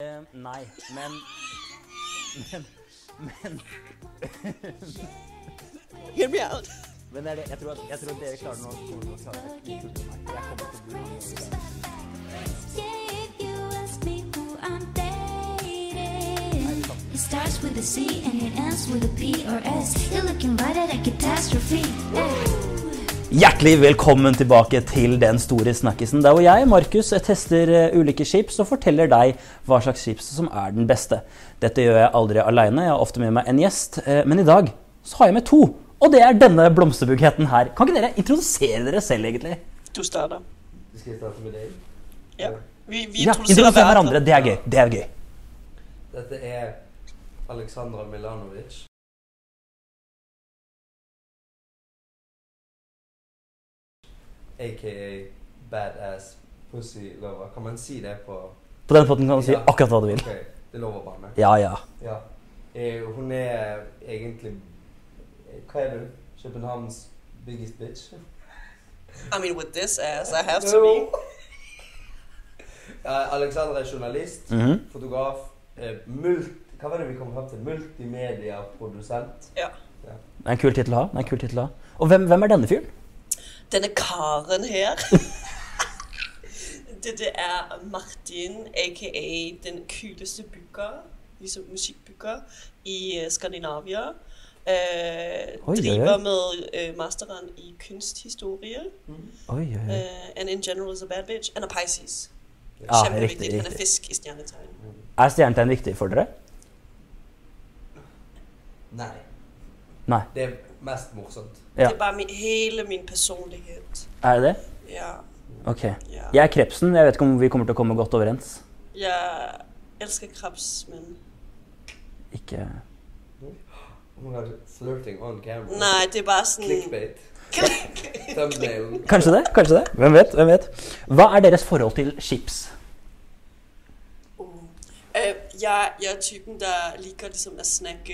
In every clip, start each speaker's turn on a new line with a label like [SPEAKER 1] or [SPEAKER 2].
[SPEAKER 1] Eh, nei, men Men, men,
[SPEAKER 2] Hear me out.
[SPEAKER 1] men det er det. Jeg, tror at, jeg tror at dere klarer noe. kommer til å klare det. Jeg kommer til å bli
[SPEAKER 3] It starts with a C and it ends with a P or S. You're looking right at a catastrophe. Hey.
[SPEAKER 1] Hjertelig velkommen tilbake til Den store snakkisen. Der hvor jeg, Markus, tester eh, ulike chips og forteller deg hva slags chips som er den beste. Dette gjør jeg aldri aleine, jeg har ofte med meg en gjest. eh, Men i dag så har jeg med to. Og det er denne blomsterbuketten her. Kan ikke dere introdusere dere selv, egentlig?
[SPEAKER 2] Du starter.
[SPEAKER 4] Du skal starte med deg.
[SPEAKER 2] Ja. Vi, vi
[SPEAKER 1] Ja,
[SPEAKER 2] introduserer
[SPEAKER 1] Introdusere hverandre. Det er gøy. Det er gøy.
[SPEAKER 4] Dette er Aleksandra Milanovic. AKA Badass Pussy Lover. Kan man si det på
[SPEAKER 1] På den måten kan du si
[SPEAKER 4] Ja.
[SPEAKER 1] akkurat hva du vil.
[SPEAKER 4] Ok, det lover bare.
[SPEAKER 1] Ja, ja.
[SPEAKER 4] Ja. Eh, hun er egentlig eh, Hva er du? Københavns biggest bitch?
[SPEAKER 2] I mean, with this ass, I have to
[SPEAKER 4] No.
[SPEAKER 2] be.
[SPEAKER 4] Eh, Alexandra er journalist,
[SPEAKER 1] Mhm.
[SPEAKER 4] fotograf, eh, multi, hva var det vi kom fram til? Multimediaprodusent.
[SPEAKER 2] Ja.
[SPEAKER 1] Det er en kul tittel å ha. det er en kul tittel å ha. Og hvem, hvem er denne fyren?
[SPEAKER 2] Denne karen her. Dette er Martin, a.k.a. den kuleste booker, liksom musikkbooker, i eh, Skandinavia. Eh,
[SPEAKER 1] oi,
[SPEAKER 2] driver
[SPEAKER 1] oi.
[SPEAKER 2] med eh, masteren i kunsthistorie.
[SPEAKER 1] Oi, oi, oi.
[SPEAKER 2] eh, and in general is a bad bitch. And a Pisces.
[SPEAKER 1] Ja, riktig,
[SPEAKER 2] Kjempeviktig. Han er
[SPEAKER 1] riktig.
[SPEAKER 2] fisk i stjernetegn.
[SPEAKER 1] Er stjernetegn viktig for dere?
[SPEAKER 4] Nei.
[SPEAKER 1] Nei.
[SPEAKER 4] Det er mest morsomt.
[SPEAKER 1] Ja.
[SPEAKER 2] Det er bare min, hele min personlighet.
[SPEAKER 1] Er det det?
[SPEAKER 2] Ja,
[SPEAKER 1] Ok.
[SPEAKER 2] ja.
[SPEAKER 1] Jeg er krepsen. Jeg vet ikke om vi kommer til å komme godt overens.
[SPEAKER 2] Jeg elsker kreps, men
[SPEAKER 1] Ikke
[SPEAKER 4] Oh my god, flirting on camera.
[SPEAKER 2] Nei, det er bare sånn
[SPEAKER 4] Clickbait. Thumbnail.
[SPEAKER 1] Kanskje det? Kanskje det? Hvem vet? Hvem vet? Hva er deres forhold til chips?
[SPEAKER 2] Uh. Øh, jeg, jeg er typen, der liker ligesom at snakke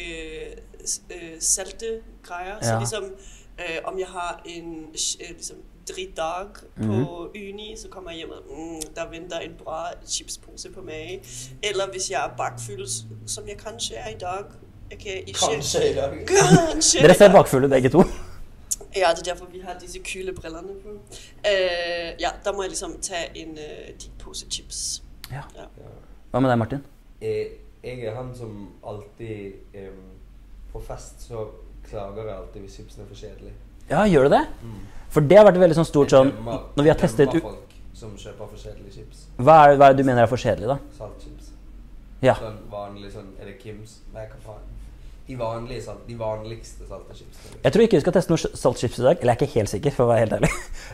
[SPEAKER 2] øh, salte grejer. Ja. Så
[SPEAKER 1] Ja.
[SPEAKER 2] ligesom, øh, om jeg har en øh, ligesom, dridag
[SPEAKER 4] Mhm.
[SPEAKER 2] på uni, så kommer jeg hjem og mm, der venter en bra chipspose på mig. Eller hvis jeg er bakfyldt, som jeg kanskje er i dag. Jeg kan ikke...
[SPEAKER 4] Kanskje i dag.
[SPEAKER 2] Kanskje.
[SPEAKER 1] Dere ser bakfulle, begge to.
[SPEAKER 2] Ja, det er derfor, vi har disse kyldebrillerne på. Øh, ja, der må jeg ligesom tage en øh, dick pose chips.
[SPEAKER 1] Hva med deg, Martin?
[SPEAKER 4] Eh, Jeg er han som alltid em, På fest så klager jeg alltid hvis chipsen er for kjedelig.
[SPEAKER 1] Ja, gjør du det? For det har vært veldig sånn stort sånn
[SPEAKER 4] Jeg dømmer-
[SPEAKER 1] Når vi har
[SPEAKER 4] jeg
[SPEAKER 1] testet
[SPEAKER 4] dømmer
[SPEAKER 1] ut
[SPEAKER 4] folk som kjøper for kjedelige chips.
[SPEAKER 1] hva er, hva er det du mener er for kjedelig, da?
[SPEAKER 4] Saltchips.
[SPEAKER 1] Ja.
[SPEAKER 4] Sånn vanlig sånn Er det Kims? Nei, hva faen. De vanlige salt, de vanligste salte chipsene.
[SPEAKER 1] Jeg tror ikke vi skal teste noe saltchips i dag. Eller jeg er ikke helt sikker, for å være helt ærlig.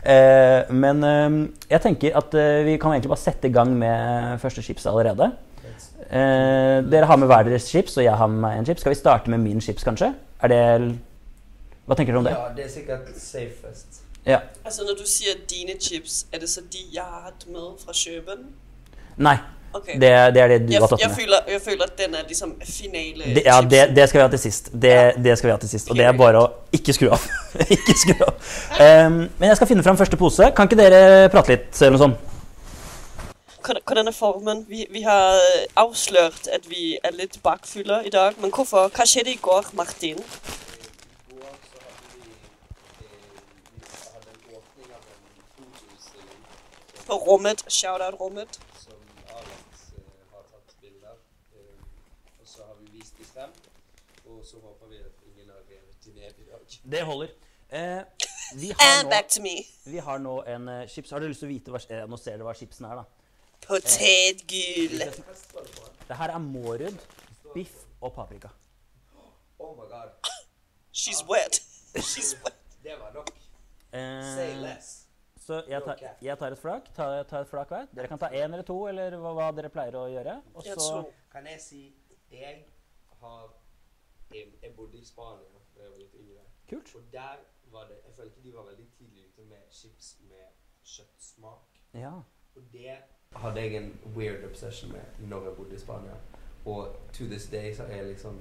[SPEAKER 1] Eh, Men eh, jeg tenker at eh, vi kan egentlig bare sette i gang med første chips allerede.
[SPEAKER 4] Let's-
[SPEAKER 1] Eh, Dere har med hver deres chips, og jeg har med meg en chips. Skal vi starte med min chips, kanskje? Er det Hva tenker dere om det?
[SPEAKER 4] Ja, det er sikkert safest.
[SPEAKER 1] Ja.
[SPEAKER 2] Altså, når du sier dine chips, er det så de jeg har hatt med fra Kjøben?
[SPEAKER 1] Nei.
[SPEAKER 2] Okay.
[SPEAKER 1] Det, det er det du
[SPEAKER 2] jeg,
[SPEAKER 1] har tatt
[SPEAKER 2] jeg
[SPEAKER 1] med.
[SPEAKER 2] føler, jeg føler at den er liksom finale
[SPEAKER 1] Det, ja, det,
[SPEAKER 2] chipsen.
[SPEAKER 1] det skal vi ha til sist. Det, det skal vi ha til sist. Og det er bare å ikke skru av. ikke skru av. Ehm, men jeg skal finne fram første pose. Kan ikke dere prate litt? eller noe sånt?
[SPEAKER 2] Hvordan- Hvordan er formen? Vi, vi har øh, avslørt at vi er litt bakfyller i dag, men hvorfor? Hva skjedde i går, Martin? På rommet, shoutout rommet.
[SPEAKER 4] som Alex eh, har tatt bilder. Eh, og så har vi vist dem frem. Og så håper vi at ingen har revet dem ned i dag.
[SPEAKER 1] Det holder. Eh, vi, har
[SPEAKER 2] And
[SPEAKER 1] nå,
[SPEAKER 2] back to me.
[SPEAKER 1] vi har nå en eh, chips. Har dere lyst til å vite hva, eh, Nå ser dere hva chipsen er, da.
[SPEAKER 2] Potetgull.
[SPEAKER 1] Det her er mårud, biff og paprika.
[SPEAKER 4] Oh my god,
[SPEAKER 2] She's wet. She's wet.
[SPEAKER 4] det var nok. Say
[SPEAKER 1] Eh,
[SPEAKER 4] less.
[SPEAKER 1] så jeg tar, jeg tar et flak. Tar, tar et flak hver. Dere kan ta én eller to, eller hva, hva dere pleier å gjøre. Og
[SPEAKER 2] Jeg
[SPEAKER 1] så
[SPEAKER 2] tror-
[SPEAKER 4] Kan jeg si jeg har Jeg, jeg bodde i Spania da jeg var litt yngre.
[SPEAKER 1] Kult.
[SPEAKER 4] Og der var det Jeg følte de var veldig tidlig ute med chips med kjøttsmak.
[SPEAKER 1] Ja.
[SPEAKER 4] Og det hadde jeg en weird obsession med når jeg bodde i Spania. Og to this day så er jeg liksom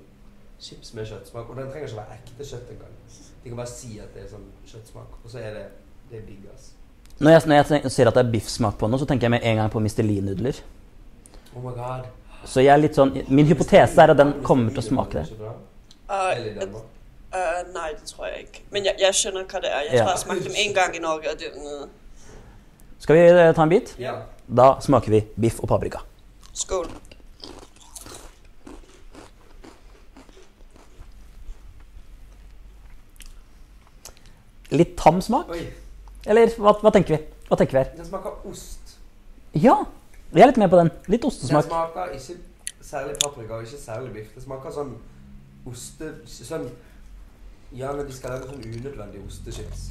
[SPEAKER 4] chips med kjøttsmak. Og den trenger ikke være ekte kjøtt engang. De kan bare si at det er sånn kjøttsmak. Og så er det det er digg, ass.
[SPEAKER 1] Når jeg, når jeg tenker- ser at det er biffsmak på noe, så tenker jeg med en gang på Mr. Lee-nudler.
[SPEAKER 4] Oh my god.
[SPEAKER 1] Så jeg er litt sånn, min hypotese er at den kommer til å smake det.
[SPEAKER 2] Og,
[SPEAKER 4] Eller i Danmark.
[SPEAKER 2] øh, nej, det tror jeg ikke. Men jeg, jeg skjønner hva det er. Jeg
[SPEAKER 1] Ja.
[SPEAKER 2] tror jeg smakte dem en gang i Norge, og det er øh,
[SPEAKER 1] Skal vi eh, ta en bit?
[SPEAKER 4] Ja.
[SPEAKER 1] Da smaker vi biff og paprika.
[SPEAKER 2] skål.
[SPEAKER 1] Litt tam smak?
[SPEAKER 4] Oi.
[SPEAKER 1] Eller hva, hva tenker vi? Hva tenker vi her?
[SPEAKER 4] Den smaker ost.
[SPEAKER 1] Ja, jeg er litt med på den. Litt
[SPEAKER 4] Den
[SPEAKER 1] ostesmak.
[SPEAKER 4] smaker ikke særlig paprika og ikke særlig biff. Det smaker sånn oste... Sånn Ja, men de skal lage sånn unødvendig ostechips.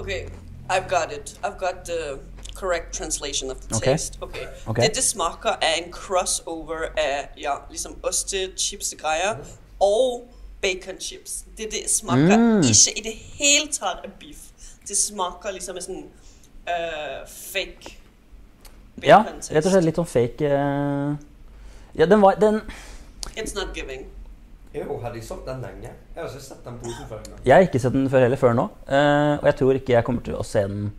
[SPEAKER 2] Okay, I've got it. I've got the correct translation of the
[SPEAKER 1] Okay.
[SPEAKER 2] taste. Okay.
[SPEAKER 1] Okay.
[SPEAKER 2] Det, det smaker af en crossover af ja, ligesom oste, chips og grejer, og bacon chips. Det, det smager
[SPEAKER 1] Mm.
[SPEAKER 2] ikke i det hele taget af beef. Det smager ligesom af sådan øh, fake bacon
[SPEAKER 1] Ja,
[SPEAKER 2] taste.
[SPEAKER 1] rett og slett litt sånn fake eh, Ja, den var den,
[SPEAKER 2] It's not giving.
[SPEAKER 4] Jo, har de solgt den lenge? Jeg har ikke sett den posen før engang.
[SPEAKER 1] Jeg har ikke sett den før heller før nå. eh, og jeg tror ikke jeg kommer til å se den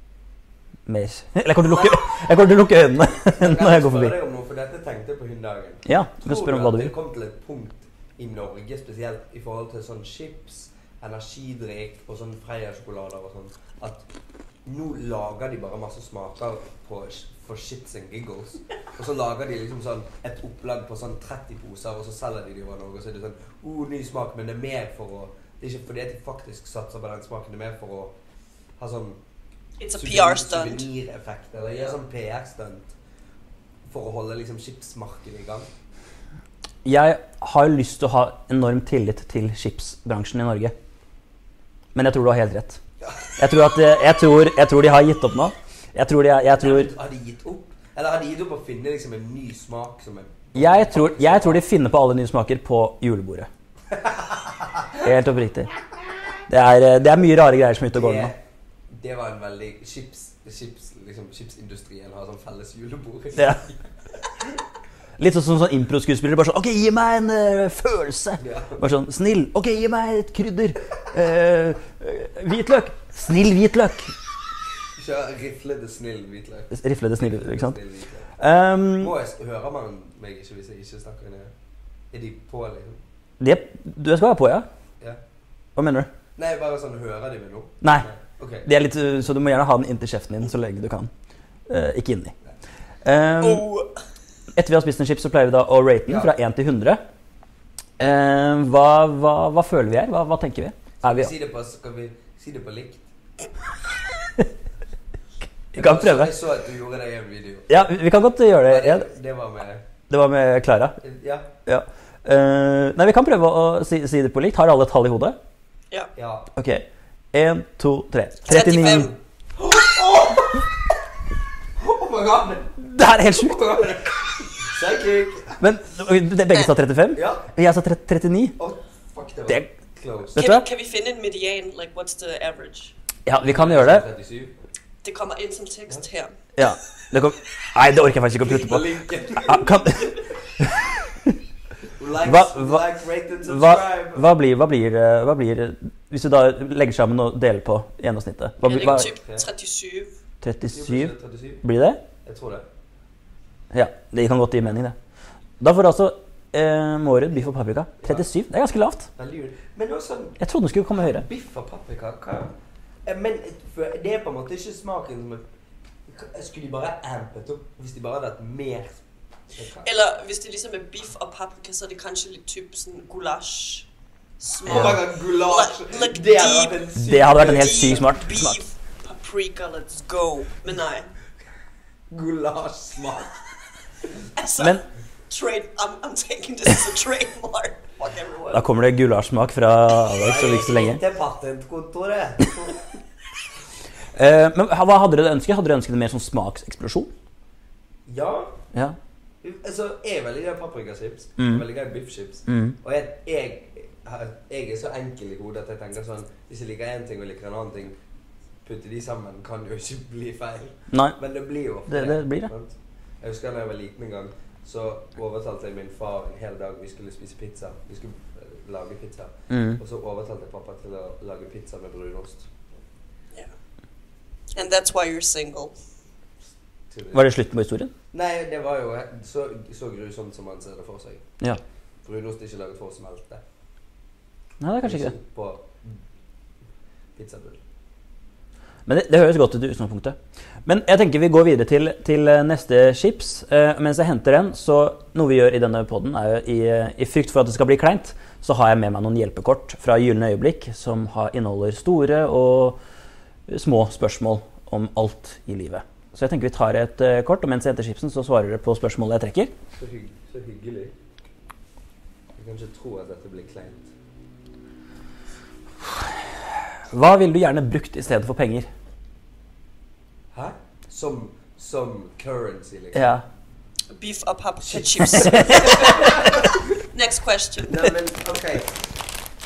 [SPEAKER 1] mer. Eller jeg kommer til å lukke, jeg kommer til å lukke øynene når jeg går
[SPEAKER 4] Jeg
[SPEAKER 1] forbi.
[SPEAKER 4] kan spørre deg om noe, for dette tenkte jeg på hun dagen.
[SPEAKER 1] Ja, du kan spørre om hva du
[SPEAKER 4] Tror at
[SPEAKER 1] vil.
[SPEAKER 4] det kom til et punkt i Norge spesielt i forhold til sånn chips, energidrikk og sånn Freia-sjokolader og sånn, at nå lager de bare masse smaker på, for shits and giggles. Og så lager de liksom sånn et opplag på sånn 30 poser, og så selger de det over Norge, og så er det sånn oh, ny smak, men det er mer for å Det er ikke fordi at de faktisk satser på den smaken, det er mer for å ha sånn
[SPEAKER 2] It's a
[SPEAKER 4] souvenir-
[SPEAKER 2] PR stunt.
[SPEAKER 4] Souvenireffekt, eller gjøre sånn PR-stunt for å holde liksom chipsmarkedet i gang.
[SPEAKER 1] Jeg har jo lyst til å ha enorm tillit til chipsbransjen i Norge. Men jeg tror du har helt rett. Jeg tror, at, eh, jeg tror, jeg tror de har gitt opp nå. Jeg tror, de, er- jeg, tror,
[SPEAKER 4] Har de gitt opp? Eller har de gitt opp å finne liksom en ny smak som er
[SPEAKER 1] jeg, tror, jeg tror de finner på alle nye smaker på julebordet. Helt oppriktig. Det er, eh, det er mye rare greier som er ute og går nå.
[SPEAKER 4] Det, det var en veldig chips, chips, liksom, Chipsindustrien har sånn felles julebord.
[SPEAKER 1] Ja. Litt sånn som sånn impro-skuespillere. Bare sånn OK, gi meg en eh, følelse.
[SPEAKER 4] Ja.
[SPEAKER 1] Bare sånn Snill. OK, gi meg et krydder. Eh, eh, hvitløk. Snill hvitløk.
[SPEAKER 4] Kjør riflete, snill hvitløk.
[SPEAKER 1] Riflede snill, ikke sant?
[SPEAKER 4] Snill hvitløk.
[SPEAKER 1] Um,
[SPEAKER 4] Må jeg, s- hører man meg ikke hvis jeg ikke snakker ned? Er de på, liksom?
[SPEAKER 1] det, du jeg skal være på, ja?
[SPEAKER 4] Ja.
[SPEAKER 1] Hva mener du?
[SPEAKER 4] Nei, bare sånn Hører de meg nå?
[SPEAKER 1] Nei.
[SPEAKER 4] Ok.
[SPEAKER 1] Det er litt, uh, så du må gjerne ha den inntil kjeften din så lenge du kan. Eh, ikke inni. Um,
[SPEAKER 2] Oh,
[SPEAKER 1] etter vi har spist en chips, så pleier vi da å rate den
[SPEAKER 4] Ja.
[SPEAKER 1] fra 1 til 100. Eh, hva, hva, hva føler vi her? Hva, hva tenker vi? Er vi
[SPEAKER 4] Si det på, skal vi si det på likt?
[SPEAKER 1] Vi kan prøve.
[SPEAKER 4] Jeg så at du gjorde det i en video.
[SPEAKER 1] Ja, vi vi kan godt gjøre det. Ja,
[SPEAKER 4] Det var med
[SPEAKER 1] Det var med Klara.
[SPEAKER 4] Ja.
[SPEAKER 1] Ja. Eh, nei, vi kan prøve å si, si det på likt. Har alle et tall i hodet?
[SPEAKER 2] ja.
[SPEAKER 4] ja.
[SPEAKER 1] Ok. 1, 2, 3.
[SPEAKER 2] 35.
[SPEAKER 1] 39.
[SPEAKER 4] Oh my god!
[SPEAKER 1] Det her er helt sjukt!
[SPEAKER 4] Oh my god. Psychic!
[SPEAKER 1] Men det- begge sa 35.
[SPEAKER 4] Ja.
[SPEAKER 1] Og jeg sa 30 39.
[SPEAKER 4] Oh, fuck, det var
[SPEAKER 1] Det-
[SPEAKER 4] close.
[SPEAKER 1] Vet
[SPEAKER 2] Kan,
[SPEAKER 1] du hva?
[SPEAKER 2] vi- kan vi finde en median? Like, what's the average?
[SPEAKER 1] Ja, vi kan gjøre det.
[SPEAKER 4] 37.
[SPEAKER 2] Det kommer ind som tekst her.
[SPEAKER 1] Ja. Det kom... Nei, det orker jeg faktisk ikke å putte på.
[SPEAKER 4] Linken.
[SPEAKER 1] Ja, kan...
[SPEAKER 4] Like,
[SPEAKER 1] Hva- hva-
[SPEAKER 4] like, rate and
[SPEAKER 1] hva,
[SPEAKER 4] subscribe.
[SPEAKER 1] hva, blir, hva, blir, eh, hva blir Hvis du da legger sammen og deler på gjennomsnittet hva,
[SPEAKER 2] Jeg
[SPEAKER 1] blir- hva,
[SPEAKER 2] ligger typ 37.
[SPEAKER 1] 37
[SPEAKER 4] 37?
[SPEAKER 1] blir det?
[SPEAKER 4] Jeg tror det.
[SPEAKER 1] Ja, det kan godt gi mening, det. Da får du altså eh, Mårud, biff og paprika. 37. Det er ganske lavt.
[SPEAKER 4] Veldig jul. Men også
[SPEAKER 1] Jeg trodde den skulle komme høyere.
[SPEAKER 4] biff og paprika. Hva? Eh, Men for det er på en måte ikke smaken som er Hva- Skulle de bare ampet opp hvis de bare hadde hatt mer hva?
[SPEAKER 2] Eller hvis det ligesom er beef og paprika, så er det kanskje litt typ sådan goulash. Små.
[SPEAKER 4] Oh my god, gulasj!
[SPEAKER 2] Like- like
[SPEAKER 4] Det hadde vært en
[SPEAKER 1] Det hadde vært en helt
[SPEAKER 2] Deep
[SPEAKER 1] syk smart smak.
[SPEAKER 2] Beef, paprika, let's go. Men nej.
[SPEAKER 4] gulasjsmak.
[SPEAKER 2] Altså,
[SPEAKER 1] Men
[SPEAKER 2] trade, I'm, I'm taking this as a trademark. Fuck everyone.
[SPEAKER 1] da kommer det gulasjsmak fra Alex om ikke så lenge.
[SPEAKER 4] Til patentkontoret.
[SPEAKER 1] Eh, men hva hadde dere ønsket? Hadde dere ønsket en mer sånn smakseksplosjon?
[SPEAKER 4] Ja.
[SPEAKER 1] Ja.
[SPEAKER 4] Altså, jeg er veldig glad i paprikachips.
[SPEAKER 1] Mm.
[SPEAKER 4] Veldig glad i biffchips. Og jeg, jeg, jeg er så enkel i hodet at jeg tenker sånn Hvis jeg liker én ting og jeg liker en annen ting, putte de sammen kan jo ikke bli feil.
[SPEAKER 1] Nei.
[SPEAKER 4] Men det blir jo ofte
[SPEAKER 1] Det- det blir det.
[SPEAKER 4] sant? Jeg husker da jeg var liten en gang, så overtalte jeg min far en hel dag. Vi skulle spise pizza. Vi skulle eh, lage pizza.
[SPEAKER 1] Mm.
[SPEAKER 4] Og så overtalte jeg pappa til å lage pizza med brunost.
[SPEAKER 2] Yeah. And that's why you're single.
[SPEAKER 4] til det.
[SPEAKER 1] Var det slutten på historien?
[SPEAKER 4] Nei, det var jo eh, så, så grusomt som man ser det for seg.
[SPEAKER 1] Ja.
[SPEAKER 4] Brunost er ikke laget for å smelte.
[SPEAKER 1] Nei, det er kanskje ikke det.
[SPEAKER 4] På pizzabull.
[SPEAKER 1] Men det, det høres godt ut i utgangspunktet. Men jeg tenker vi går videre til, til eh, neste chips. Eh, mens jeg henter den, så noe vi gjør i denne poden, er jo i, eh, i frykt for at det skal bli kleint, så har jeg med meg noen hjelpekort fra Gylne øyeblikk som har, inneholder store og små spørsmål om alt i livet. Så jeg tenker vi tar et eh, kort, og mens jeg henter chipsen, så svarer dere på spørsmålet jeg trekker.
[SPEAKER 4] Så, hygg, så hyggelig. Jeg kan ikke tro at dette blir kleint.
[SPEAKER 1] Hva ville du gjerne brukt i stedet for penger?
[SPEAKER 4] Hæ? Som, som currency, liksom.
[SPEAKER 1] Ja.
[SPEAKER 2] Beef og paprika chips. Next question.
[SPEAKER 4] Nei, men ok.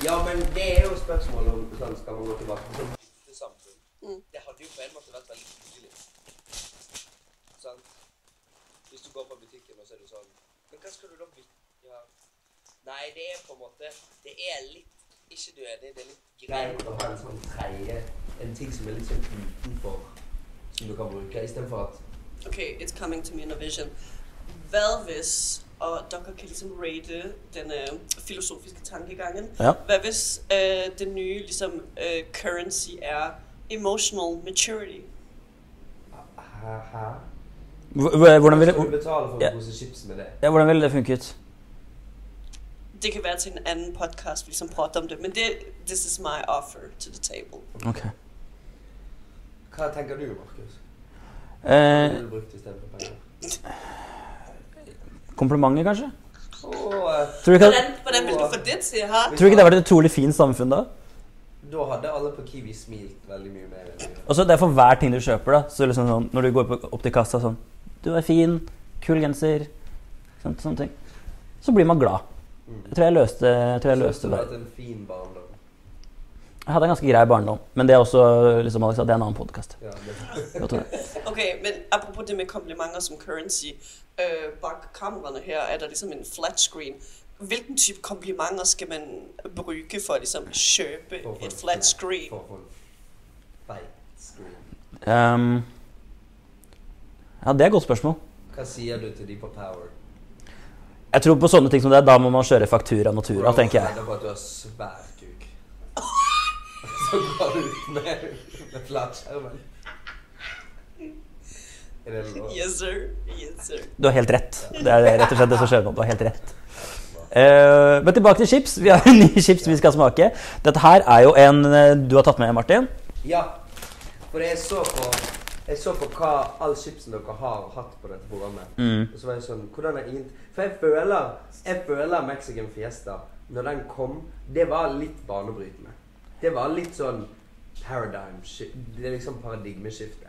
[SPEAKER 4] Ja, men det er jo spørsmålet om sånn skal man gå tilbake til det samfunn. Det hadde jo på en måte vært veldig hyggelig. Sant? Hvis du går på butikken og så er du sånn Men hva skal du da bytte ja. Nei, det er på en måte Det er litt ikke dødig, det er litt greit å ha en sånn tredje En ting som er litt sånn utenfor, som du kan bruke, istedenfor at
[SPEAKER 2] Okay, it's coming to me in a vision. Hvad hvis, og dere kan ligesom rate den øh, filosofiske tankegangen,
[SPEAKER 1] Ja.
[SPEAKER 2] hvad hvis øh, den nye ligesom, øh, currency er emotional maturity?
[SPEAKER 4] Hæ? hæ?
[SPEAKER 1] Hv- hv- Hvordan ville,
[SPEAKER 4] Skal du betale for
[SPEAKER 1] Ja.
[SPEAKER 4] en pose chips med det?
[SPEAKER 1] ja, hvordan ville det funket?
[SPEAKER 2] Det kan være til en anden podcast, vi ligesom prater om det, men det, this is my offer to the table.
[SPEAKER 1] Ok.
[SPEAKER 4] Hva tenker du, Markus? Hva
[SPEAKER 1] Eh,
[SPEAKER 4] ville du brukt istedenfor penger?
[SPEAKER 1] komplimenter, kanskje?
[SPEAKER 4] Åh,
[SPEAKER 1] Tror du, ikke
[SPEAKER 2] Hvordan,
[SPEAKER 1] at,
[SPEAKER 2] hvordan vil du få det til, ha?
[SPEAKER 1] tror du ikke det var et utrolig fint samfunn da?
[SPEAKER 4] Da hadde alle på Kiwi smilt veldig mye mer. enn de gjør.
[SPEAKER 1] Og så Altså, det er for hver ting du kjøper, da. Så liksom sånn, når du går på, opp til kassa sånn Du er fin. Kul genser. Sånt, sånne ting. Så blir man glad. Jeg tror jeg løste, jeg tror jeg
[SPEAKER 4] Så
[SPEAKER 1] løste
[SPEAKER 4] du
[SPEAKER 1] det.
[SPEAKER 4] hadde hatt en fin barndom.
[SPEAKER 1] Jeg hadde en ganske grei barndom. Men det er også liksom Alex sa, det er en annen podkast.
[SPEAKER 4] Ja, det.
[SPEAKER 2] Okay, men apropos det med komplimenter som currency, øh, bak kameraerne her er der ligesom en flat screen. Hvilken type komplimenter skal man bruge for at ligesom købe
[SPEAKER 4] For folk-
[SPEAKER 2] et flat screen?
[SPEAKER 4] For folk. Fight screen.
[SPEAKER 1] Um, ja, det er et godt spørsmål.
[SPEAKER 4] Hva sier du til de på Power?
[SPEAKER 1] Jeg tror på sånne ting som det, er, da må man kjøre faktura natura, tenker jeg.
[SPEAKER 4] Redder på at du har svær kuk. Så går du ut med, med flatskjermen. Er det lov?
[SPEAKER 2] Yes sir, yes sir.
[SPEAKER 1] Du har helt rett. Det er rett og slett det som skjer nå. Du har helt rett. Eh, men tilbake til chips. Vi har en ny chips vi skal smake. Dette her er jo en eh, du har tatt med, Martin.
[SPEAKER 4] Ja. For jeg så på jeg så på hva all chipsen dere har hatt på dette programmet. Og så var jeg sånn hvordan er ingen... For jeg føler, jeg føler Mexican Fiesta, når den kom, det var litt banebrytende. Det var litt sånn paradigm shift. Det er liksom paradigmeskifte.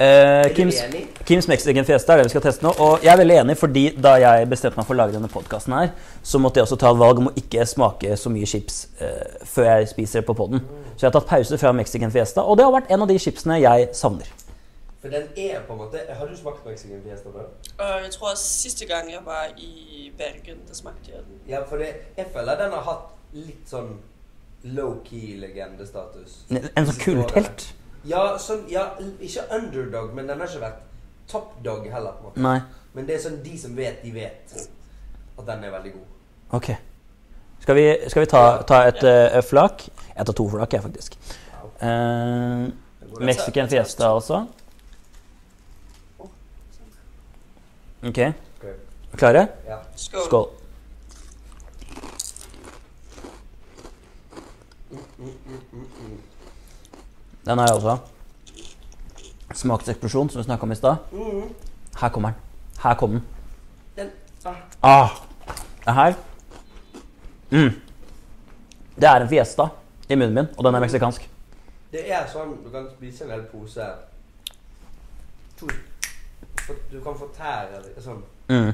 [SPEAKER 1] Eh,
[SPEAKER 4] du
[SPEAKER 1] Mm. Kims,
[SPEAKER 4] enig?
[SPEAKER 1] Kims Mexican Fiesta er det vi skal teste nå. Og jeg er veldig enig, fordi da jeg bestemte meg for å lage denne podkasten her, så måtte jeg også ta et valg om å ikke smake så mye chips eh, før jeg spiser det på poden. Så jeg har tatt pause fra Mexican Fiesta, og det har vært en av de chipsene jeg savner.
[SPEAKER 4] For den er på en måte Har du smakt Mexican Fiesta før?
[SPEAKER 2] Og jeg tror også sidste gang jeg var i Bergen, der smagte jeg den.
[SPEAKER 4] Ja, for det, jeg føler den har hatt litt sånn low-key legendestatus.
[SPEAKER 1] En en sånn kulthelt.
[SPEAKER 4] Ja, sånn, ja, l- ikke underdog, men den har ikke vært top dog heller. på en måte.
[SPEAKER 1] Nei.
[SPEAKER 4] Men det er sånn de som vet, de vet at den er veldig god.
[SPEAKER 1] Ok. Skal vi, skal vi ta, ta et eh, flak? Jeg tar to flak, jeg, faktisk. Eh, Mexican Fiesta, altså. Ok.
[SPEAKER 4] Ok,
[SPEAKER 1] Klare?
[SPEAKER 4] Ja.
[SPEAKER 2] Skål.
[SPEAKER 1] Skål. Den har jeg også. Smakseksplosjon, som vi snakka om i stad. Her kommer den. Her kom den.
[SPEAKER 4] Mm-hmm. Den, ah,
[SPEAKER 1] Ah, det her mm. Det er en fiesta i munnen min, og den er meksikansk.
[SPEAKER 4] det er sånn du kan spise en hel pose to, for- Du kan fortære det sånn.
[SPEAKER 1] Mm.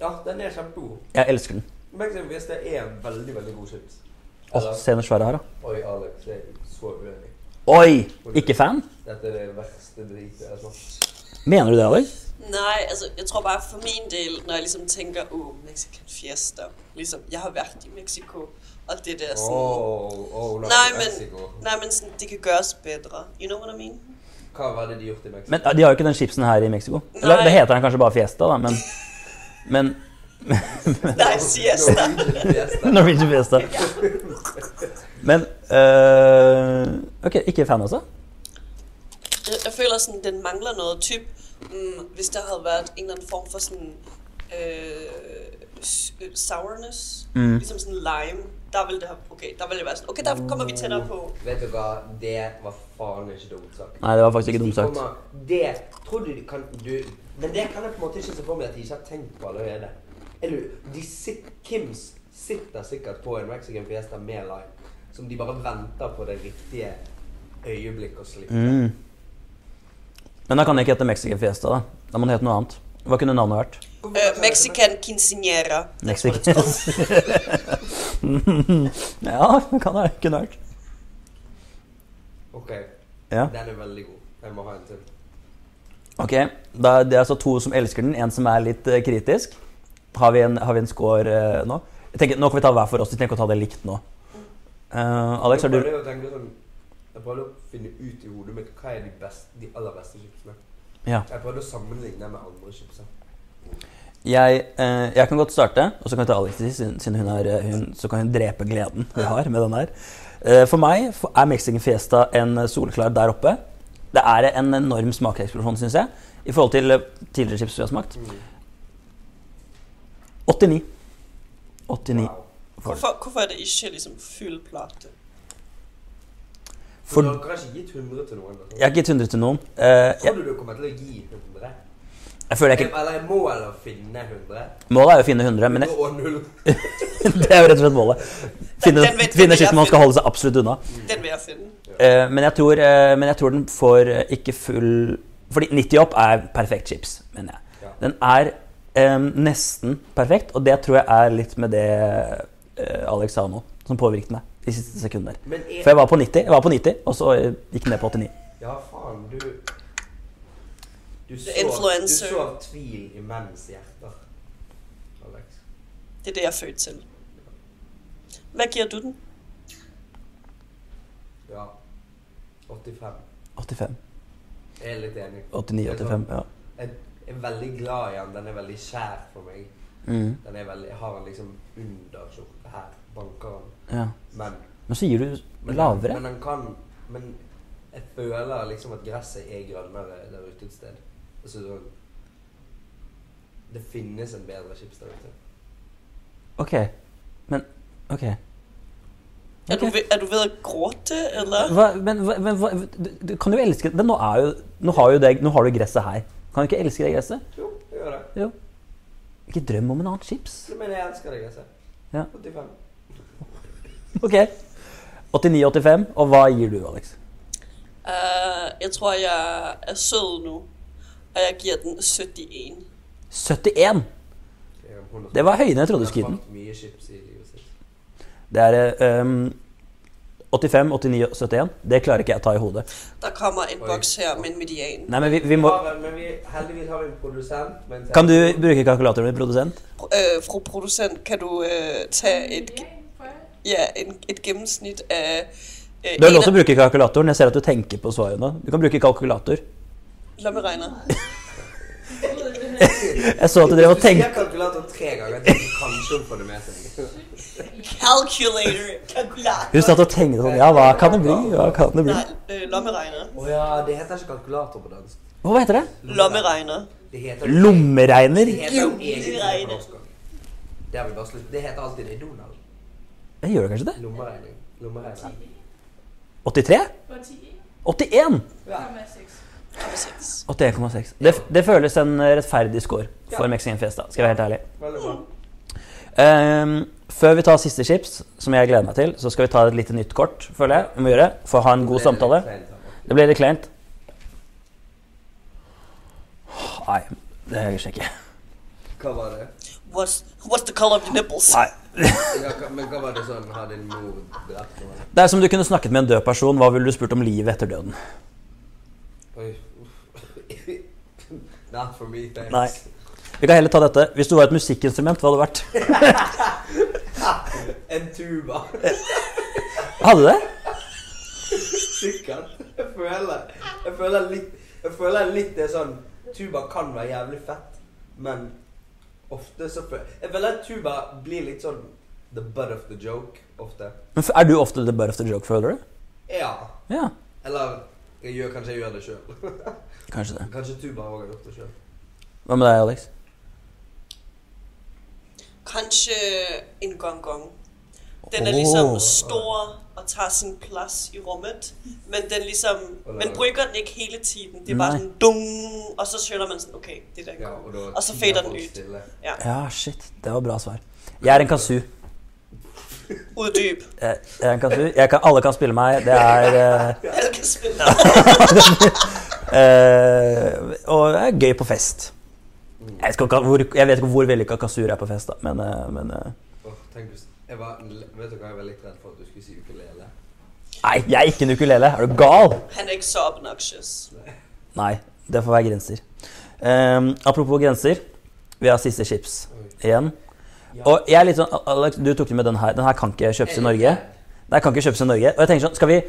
[SPEAKER 4] Ja, den er kjempegod.
[SPEAKER 1] Jeg elsker den.
[SPEAKER 4] Mexican Fiesta er en veldig, veldig god chips.
[SPEAKER 1] Åh, Se den svære her, da.
[SPEAKER 4] Oi, Alex, jeg er så uenig.
[SPEAKER 1] Oi! Ikke fan?
[SPEAKER 4] Dette er det verste dritet jeg har smakt.
[SPEAKER 1] Mener du det, Alex?
[SPEAKER 2] Nej, altså jeg tror bare for min del, når jeg ligesom tænker, åh, oh, Mexican Fiesta, ligesom, jeg har været i Mexico, og det der sådan...
[SPEAKER 4] Åh, oh, oh,
[SPEAKER 2] Nej, men, nej, men sådan, det kan gøres bedre. You know what I mean?
[SPEAKER 4] Hva var det de gjorde i Mexico?
[SPEAKER 1] Men eh, de har jo ikke den chipsen her i Mexico. Eller,
[SPEAKER 2] Nei.
[SPEAKER 1] det heter den kanskje bare Fiesta, da, men, men
[SPEAKER 2] Nei, siesta.
[SPEAKER 4] Norwegian siesta.
[SPEAKER 1] Norwegian Fiesta. Men eh, Ok, ikke fan også?
[SPEAKER 2] Jeg, jeg føler sådan, den mangler noget. Typ, mm, hvis der havde været en eller anden form for sådan, øh, s- øh, sourness,
[SPEAKER 1] Mm.
[SPEAKER 2] ligesom sådan lime, der ville det have, okay, der ville det være sådan, okay, der kommer vi tættere på. Øh,
[SPEAKER 4] Vet du hva, det var faen ikke dumt sagt.
[SPEAKER 1] Nei, det var faktisk ikke dumt sagt.
[SPEAKER 4] Kommer- Det tror du de kan du, Men det kan jeg på en måte ikke se for meg at de ikke har tenkt på allerede. Er du, de sit, Kims sitter sikkert på en Mexican Fiesta med lime, som de bare venter på det riktige øyeblikket å slippe.
[SPEAKER 1] Mm. Men da kan det ikke hete Mexican Fiesta, da. Da må det hete noe annet. Hva kunne navnet vært?
[SPEAKER 2] Øh, Mexican quinceañera. That's what it's
[SPEAKER 1] Mexican.
[SPEAKER 2] called.
[SPEAKER 1] ja, det kan det kunne vært.
[SPEAKER 4] Ok,
[SPEAKER 1] Ja.
[SPEAKER 4] den er veldig god. Jeg må ha en til.
[SPEAKER 1] Ok, da, Det er altså to som elsker den, en som er litt eh, kritisk. Har vi en, har vi en score eh, nå? Jeg tenker, Nå kan vi ta hver for oss. Vi trenger ikke å ta det likt nå. Eh, Alex, har
[SPEAKER 4] jeg
[SPEAKER 1] du
[SPEAKER 4] prøvde, å tenke sånn, jeg prøvde å finne ut i hodet mitt hva er de, best, de aller beste chipsene.
[SPEAKER 1] Ja.
[SPEAKER 4] Jeg prøvde å sammenligne med andre chips.
[SPEAKER 1] Jeg, eh, jeg kan godt starte, og så kan vi ta Alex til sist, siden- siden hun er eh, hun, Så kan hun drepe gleden vi har med den her. Eh, For meg f- er Mexican Fiesta en eh, solklar der oppe. Det er en enorm smakseksplosjon, syns jeg, i forhold til eh, tidligere chips vi har smakt.
[SPEAKER 4] Mm.
[SPEAKER 1] 89. 89.
[SPEAKER 4] Wow.
[SPEAKER 2] Hvorfor, hvorfor er det ikke liksom fyldplate?
[SPEAKER 1] For
[SPEAKER 4] du har kanskje gitt 100 til noen? altså.
[SPEAKER 1] jeg har ikke gitt 100 til noen. Eh,
[SPEAKER 4] Tror du du kommer til å gi 100?
[SPEAKER 1] Jeg, jeg føler jeg ikke
[SPEAKER 4] Eller målet er å finne 100?
[SPEAKER 1] Målet er jo å finne 100, men jeg,
[SPEAKER 4] Og null.
[SPEAKER 1] det er jo rett og slett målet. Finne,
[SPEAKER 2] Den vet vi
[SPEAKER 1] finne
[SPEAKER 2] vi har
[SPEAKER 1] skitt man skal
[SPEAKER 2] funnet.
[SPEAKER 1] holde seg absolutt unna.
[SPEAKER 2] Den vil jeg finde.
[SPEAKER 1] Eh, men, jeg tror, eh, men jeg tror den får eh, ikke full Fordi 90 opp er perfekt chips, mener jeg.
[SPEAKER 4] Ja.
[SPEAKER 1] Den er eh, nesten perfekt, og det tror jeg er litt med det eh, Alex sa nå, som påvirket meg de siste sekundene. der.
[SPEAKER 4] Men
[SPEAKER 1] For
[SPEAKER 4] er
[SPEAKER 1] jeg var på 90, jeg var på 90 og så eh, gikk den ned på 89.
[SPEAKER 4] Ja, faen, du Du så, du
[SPEAKER 2] influencer.
[SPEAKER 4] så tvil i menns hjerter, Alex.
[SPEAKER 2] Det er det, jeg er født til. Hvad giver du den?
[SPEAKER 4] Ja. 85.
[SPEAKER 1] 85.
[SPEAKER 4] Jeg er litt enig.
[SPEAKER 1] 89-85. Ja.
[SPEAKER 4] Jeg er veldig glad i den. Den er veldig kjær for meg.
[SPEAKER 1] Mm,
[SPEAKER 4] Den er veldig, jeg har den liksom under skjorta her. Banker den.
[SPEAKER 1] ja.
[SPEAKER 4] Men,
[SPEAKER 1] Men så gir du
[SPEAKER 4] men,
[SPEAKER 1] lavere.
[SPEAKER 4] men den kan Men jeg føler liksom at gresset er grønnere der ute et sted. Altså sånn Det finnes en bedre chips der ute.
[SPEAKER 1] Ok. Men ok.
[SPEAKER 2] Er, du
[SPEAKER 1] Ok.
[SPEAKER 2] ved, er du ved at gråte, eller?
[SPEAKER 1] Hva, men hva, men hva, du, du kan jo elske det. Nå, er jo, nå, har jo det, nå har du gresset her. Kan du ikke elske det gresset?
[SPEAKER 4] Jo, jeg gjør det.
[SPEAKER 1] Jo. Ikke drøm om en annen chips.
[SPEAKER 4] Så mener jeg elsker det gresset.
[SPEAKER 1] Ja.
[SPEAKER 4] 85.
[SPEAKER 1] Ok. 89,85. Og hva gir du, Alex?
[SPEAKER 2] Øh, jeg tror, jeg er sød nu, og jeg giver den 71.
[SPEAKER 1] 71!
[SPEAKER 4] Det er 100.
[SPEAKER 1] Det var høyere enn jeg trodde du
[SPEAKER 4] Jeg
[SPEAKER 1] skulle
[SPEAKER 4] har
[SPEAKER 1] gi den.
[SPEAKER 4] smakt mye chips i livet sitt.
[SPEAKER 1] Det er eh, um, 85, 89 og 71. Det klarer ikke jeg å ta i hodet.
[SPEAKER 2] Der kommer en
[SPEAKER 4] Oi.
[SPEAKER 2] boks her med en median.
[SPEAKER 1] Nei, men vi, vi må
[SPEAKER 4] Ja, men- men vi, heldigvis har vi en produsent. med en
[SPEAKER 1] Kan du
[SPEAKER 4] telefon.
[SPEAKER 1] bruke kalkulatoren din, produsent?
[SPEAKER 2] Øh, fru producent, kan du øh, tage et, ge- ja, en, et gennemsnit af... Øh,
[SPEAKER 1] Du har lov til å
[SPEAKER 2] en af-
[SPEAKER 1] bruke kalkulatoren. Jeg ser at du tenker på svaret nå. Du kan bruke kalkulator.
[SPEAKER 2] lommeregner.
[SPEAKER 1] Jeg så at du drev og
[SPEAKER 4] Hvis Du
[SPEAKER 1] tenkte
[SPEAKER 4] sier kalkulator tre ganger, tenker du kanskje hun får det med seg.
[SPEAKER 2] Calculator. Kalkulator.
[SPEAKER 1] Hun satt og tenkte sånn Ja, hva kan det bli? Hva kan det bli?
[SPEAKER 2] Nej, øh, lommeregner.
[SPEAKER 4] Å ja, det heter ikke kalkulator på dansk.
[SPEAKER 1] Hva heter det?
[SPEAKER 2] Lommeregner.
[SPEAKER 4] Det heter
[SPEAKER 1] Lommeregner?
[SPEAKER 4] Det heter jo egentlig det
[SPEAKER 2] Lommeregner.
[SPEAKER 4] på norsk. Det har vi bare slutt. Det heter alltid det. Donald.
[SPEAKER 1] Jeg gjør det kanskje det?
[SPEAKER 4] Lommeregning. Lommeregning.
[SPEAKER 1] 83? 81!
[SPEAKER 4] Ja.
[SPEAKER 2] 6.
[SPEAKER 1] 81,6. Det, det føles en rettferdig score for Mexican Fiesta, skal jeg være helt ærlig.
[SPEAKER 4] Veldig bra.
[SPEAKER 1] Ehm, før vi tar siste chips, som jeg gleder meg til, så skal vi ta et lite nytt kort, føler jeg. Vi må gjøre, for å ha en god samtale. Det blir litt kleint. Nei, det gjør jeg kanskje ikke.
[SPEAKER 4] Hva var det?
[SPEAKER 2] What's, what's the color of your nipples?
[SPEAKER 1] Nei.
[SPEAKER 4] Ja, hva- men hva var det sånn Har din mor drept noen?
[SPEAKER 1] Det er som du kunne snakket med en død person. Hva ville du spurt om livet etter døden?
[SPEAKER 4] Oi. uff. Not for me, thanks.
[SPEAKER 1] Nei. Vi kan heller ta dette. Hvis du var et musikkinstrument, hva hadde det vært?
[SPEAKER 4] En tuba.
[SPEAKER 1] Hadde det?
[SPEAKER 4] Sikkert. Jeg føler Jeg føler litt, jeg føler litt det er sånn Tuba kan være jævlig fett, men ofte så føler Jeg føler at tuba blir litt sånn the butt of the joke ofte.
[SPEAKER 1] Men f- er du ofte the butt of the joke, føler du?
[SPEAKER 4] Ja.
[SPEAKER 1] Ja,
[SPEAKER 4] Eller jeg gjør, kanskje jeg gjør det sjøl.
[SPEAKER 1] kanskje det.
[SPEAKER 4] Kanskje tuba òg har gjort det sjøl.
[SPEAKER 1] Hva med deg, Alex?
[SPEAKER 2] Kanskje øh, en gong-gong. Den er
[SPEAKER 1] Åh.
[SPEAKER 2] ligesom stor og tager sin plads i rummet, men den ligesom, man bruger den ikke hele tiden. Det er bare
[SPEAKER 1] Nej.
[SPEAKER 2] sådan dung, og så skjønner man sådan, okay, det der
[SPEAKER 4] Ja,
[SPEAKER 2] går.
[SPEAKER 4] og da
[SPEAKER 2] Og så fader den
[SPEAKER 4] folk
[SPEAKER 2] ut.
[SPEAKER 4] stille.
[SPEAKER 1] Ja, shit. Det var bra svar. Jeg er en kazoo.
[SPEAKER 2] Uddyb.
[SPEAKER 1] Jeg jeg er en kazoo. Jeg kan, alle kan spille meg. Det er eh,
[SPEAKER 2] Alle kan spille.
[SPEAKER 1] eh, Og det er gøy på fest. Jeg, skal, ikke- hvor, jeg vet ikke hvor vellykka kazooer er på fest, da, men, eh, men eh,
[SPEAKER 4] Åh, tenk hvis jeg var, Vet du hva, jeg var litt redd for at du skulle si ukulele.
[SPEAKER 1] Nei, jeg er ikke en ukulele. Er du gal?
[SPEAKER 2] Han er ikke så obnoxious.
[SPEAKER 1] Nei, det får være grenser. Ehm, apropos grenser, vi har siste chips
[SPEAKER 4] Oi.
[SPEAKER 1] igjen. Og jeg er litt sånn, Alex, du tok det med den her. Den her kan ikke kjøpes i Norge. Den her kan ikke kjøpes i Norge. Og jeg tenker sånn, Skal vi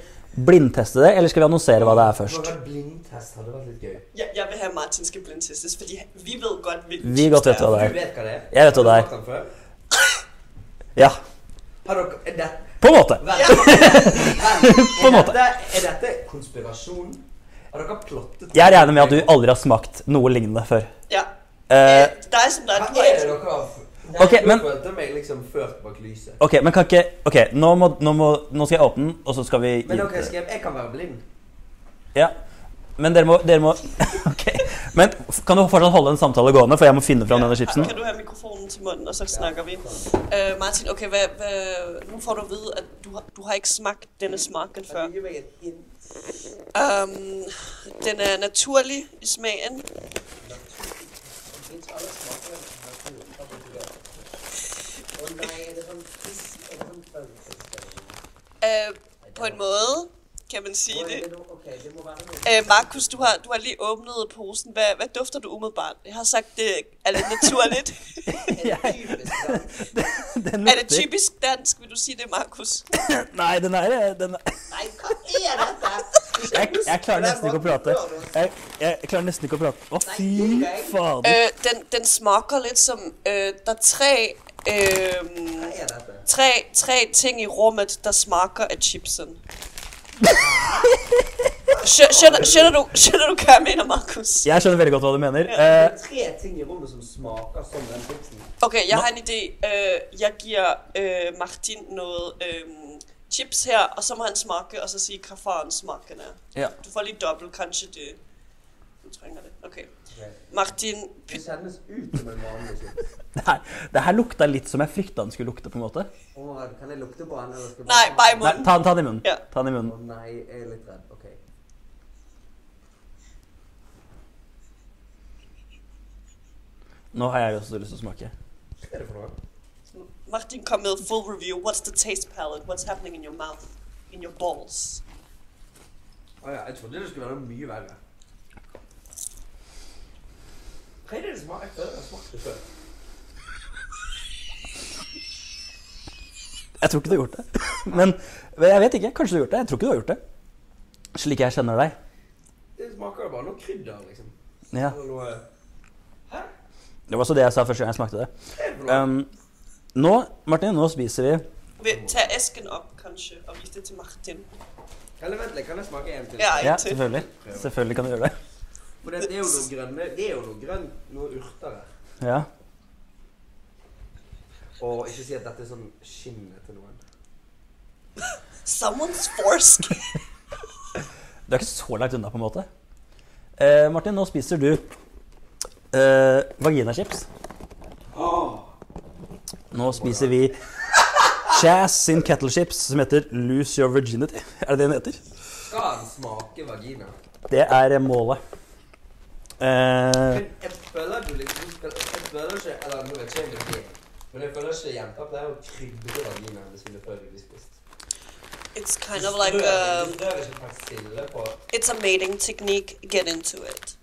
[SPEAKER 1] blindteste det, eller skal vi annonsere hva det er først?
[SPEAKER 4] Bare blindtest hadde vært litt gøy.
[SPEAKER 2] Jeg, jeg vil have Martin skal blindtestes, fordi vi ved godt, hvilken
[SPEAKER 1] Vi godt vet hva det
[SPEAKER 4] Du
[SPEAKER 1] er.
[SPEAKER 4] vet hva det er?
[SPEAKER 1] Jeg vet hva det er.
[SPEAKER 4] Har du smakt den før?
[SPEAKER 1] Ja,
[SPEAKER 4] Har dere er det,
[SPEAKER 1] på en måte.
[SPEAKER 4] vent, vent,
[SPEAKER 1] På en måte.
[SPEAKER 4] Er dette, er dette konspirasjon? Har dere plottet
[SPEAKER 1] Jeg regner med at du aldri har smakt noe lignende før.
[SPEAKER 2] Ja.
[SPEAKER 1] Eh,
[SPEAKER 2] Dig som der er
[SPEAKER 4] Hva
[SPEAKER 2] på
[SPEAKER 4] er det dere har Nei,
[SPEAKER 1] Ok, men-
[SPEAKER 4] Jeg følte meg liksom ført bak lyset.
[SPEAKER 1] ok, men kan ikke Ok, nå, må, nå, må, nå skal jeg åpne den, og så skal vi gi
[SPEAKER 4] Men dere
[SPEAKER 1] det.
[SPEAKER 4] skrev 'jeg kan være blind'.
[SPEAKER 1] Ja. Men dere må, dere må Ok. Men kan du fortsatt holde en samtale gående, for jeg må finne fram denne chipsen?
[SPEAKER 2] Kan du have mikrofonen til munden, og så snakker vi. Øh, Martin, okay, hvad, hvad, nu får du at vide, at du har, du har ikke smagt denne smaken før.
[SPEAKER 4] Kan du gi meg et hint?
[SPEAKER 2] Øhm, den er naturlig i smagen.
[SPEAKER 4] sånn
[SPEAKER 2] Øh, på en måde, kan man sige det. Øh, Markus, du har, du har lige åbnet posen. Hvad, hvad dufter du umiddelbart? Jeg har sagt, det er lidt naturligt.
[SPEAKER 1] Den
[SPEAKER 2] er det
[SPEAKER 1] lukter-
[SPEAKER 2] typisk dansk, vil du sige det, Markus?
[SPEAKER 1] Nei, den er eh, den er- jeg, jeg klarer nesten ikke å prate. Jeg, jeg klarer nesten ikke å prate. Å, fy fader.
[SPEAKER 2] Øh, den, den smager lidt som, øh, der er tre, øh,
[SPEAKER 4] Hva er dette?
[SPEAKER 2] tre, tre ting i rummet, der smager af chipsen. Skjø- Skjønner, skjønner, du, skjønner du, hva jeg mener, Markus?
[SPEAKER 1] Jeg skjønner veldig godt hva du mener.
[SPEAKER 4] Det
[SPEAKER 1] Eh,
[SPEAKER 4] er tre ting i rommet som smaker som den chipsen.
[SPEAKER 2] Okay, jeg har en idé. Øh, jeg giver øh, Martin noget øh, chips her, og så må han smage, og så sige, hvad faren smagen er.
[SPEAKER 1] ja.
[SPEAKER 2] Du får lige dobbelt, kanskje det. Du trænger det. Okay. Martin,
[SPEAKER 4] Det
[SPEAKER 2] py-
[SPEAKER 4] kjennes ut som en vanlig chips.
[SPEAKER 1] Det, her, det her lukta litt som jeg frykta den skulle lukte. på en måte.
[SPEAKER 4] Åh, kan jeg lukte på den? eller skal jeg
[SPEAKER 2] Nej, bare i
[SPEAKER 1] Nei,
[SPEAKER 2] munden.
[SPEAKER 1] ta, den- ta den i munnen.
[SPEAKER 2] Ja.
[SPEAKER 1] Ta den i
[SPEAKER 4] Å
[SPEAKER 1] munnen.
[SPEAKER 4] nei, jeg er litt redd. Ok.
[SPEAKER 1] Nå har jeg også lyst til å smake.
[SPEAKER 4] Hva er det for noe?
[SPEAKER 2] Martin, kom med full review. What's the taste palette? What's happening in your mouth? In your balls?
[SPEAKER 4] Å ja, jeg trodde det skulle være noe mye verre. Hva er det det smaker? Jeg føler jeg har smakt det før.
[SPEAKER 1] Jeg tror ikke du har gjort det. Men men jeg vet ikke. Kanskje du har gjort det. Jeg tror ikke du har gjort det. Slik jeg kjenner deg.
[SPEAKER 4] Det smaker jo bare noe krydder, liksom.
[SPEAKER 1] Ja.
[SPEAKER 4] Eller noe Hæ?
[SPEAKER 1] Det var også det jeg sa første gang jeg smakte det.
[SPEAKER 4] Hva er det for noe?
[SPEAKER 1] Um, nå, Martin, nå spiser vi
[SPEAKER 2] Vil- Tag æsken op, kanskje, og vis det til Martin.
[SPEAKER 4] Eller vent litt, kan jeg smake en til?
[SPEAKER 2] Ja,
[SPEAKER 1] Ja,
[SPEAKER 2] en til.
[SPEAKER 1] selvfølgelig. Selvfølgelig kan du gjøre det.
[SPEAKER 4] For det, det er jo noe grønne, det er jo noe grønt, noe urter her.
[SPEAKER 1] Ja.
[SPEAKER 4] Og ikke si at dette er sånn skinnet til noen.
[SPEAKER 2] Someone's foreskin.
[SPEAKER 1] Du er ikke så langt unna, på en måte. Eh, Martin, nå spiser du eh, vaginachips. Nå spiser vi Chaz sin kettlechips som heter Lose Your Virginity. Er det det den heter?
[SPEAKER 4] Skal den smake vagina?
[SPEAKER 1] Det er eh, målet. Eh,
[SPEAKER 4] Men jeg føler du liksom skal, Jeg føler ikke Eller nå vet ikke jeg om det er men jeg føler ikke jenter pleier å krydre vaginaen sine før de blir spist.
[SPEAKER 2] It's kind of like
[SPEAKER 4] Rører-
[SPEAKER 2] um,
[SPEAKER 4] rører ikke persille på
[SPEAKER 2] it's a mating technique. Get into it.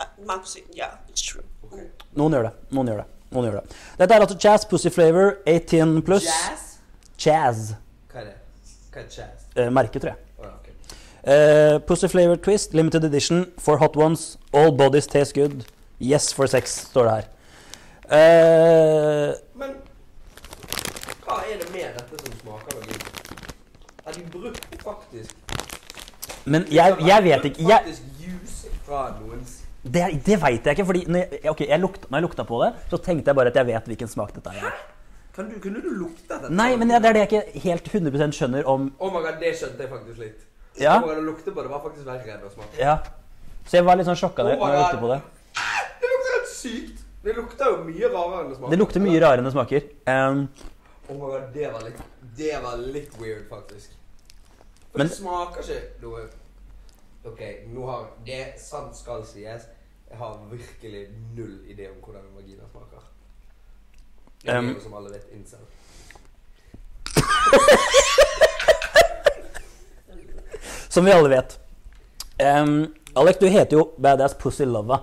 [SPEAKER 2] Uh, Markus, yeah, it's true.
[SPEAKER 4] Ok.
[SPEAKER 1] noen gjør det. Noen gjør det. Noen gjør det. Dette er altså Chaz Pussy Flavor 18 pluss.
[SPEAKER 4] Jazz?
[SPEAKER 1] Chaz.
[SPEAKER 4] Hva er det? Hva er jazz?
[SPEAKER 1] Eh, merke, tror jeg.
[SPEAKER 4] Å ja, ok.
[SPEAKER 1] Eh, Pussy Flavor Twist, limited edition, for hot ones. All bodies taste good. Yes for sex, står det her. Eh,
[SPEAKER 4] Men hva er det med dette som smaker veldig Har de brukt faktisk
[SPEAKER 1] men jeg, jeg vet ikke jeg,
[SPEAKER 4] Liksom, Faktisk juice fra noens
[SPEAKER 1] Det, det veit jeg ikke, fordi når jeg, ok, jeg lukta, når jeg lukta på det, så tenkte jeg bare at jeg vet hvilken smak dette er.
[SPEAKER 4] kan du, Kunne du lukte dette?
[SPEAKER 1] Nei, men ja, det er det jeg ikke helt 100 skjønner om
[SPEAKER 4] Oh my god, det skjønte jeg faktisk litt.
[SPEAKER 1] Ja.
[SPEAKER 4] Oh my god, Å lukte på det var faktisk verre enn å smake.
[SPEAKER 1] Ja. Så jeg var litt sånn sjokka da
[SPEAKER 4] Oh my
[SPEAKER 1] når jeg lukta på det.
[SPEAKER 4] God. Det lukter helt sykt. Det lukter jo mye rarere enn å smake.
[SPEAKER 1] Det lukter mye rarere enn det smaker. Ehm,
[SPEAKER 4] Oh my god, det var litt, det var litt weird, faktisk. For
[SPEAKER 1] Men-
[SPEAKER 4] det smaker ikke noe Ok, nå har Det sant skal sies. Jeg har virkelig null idé om hvordan en vagina smaker. Jeg er
[SPEAKER 1] Em.
[SPEAKER 4] jo som alle vet, incel.
[SPEAKER 1] som vi alle vet. Ehm, Alec, du heter jo Badass Pussy Lova.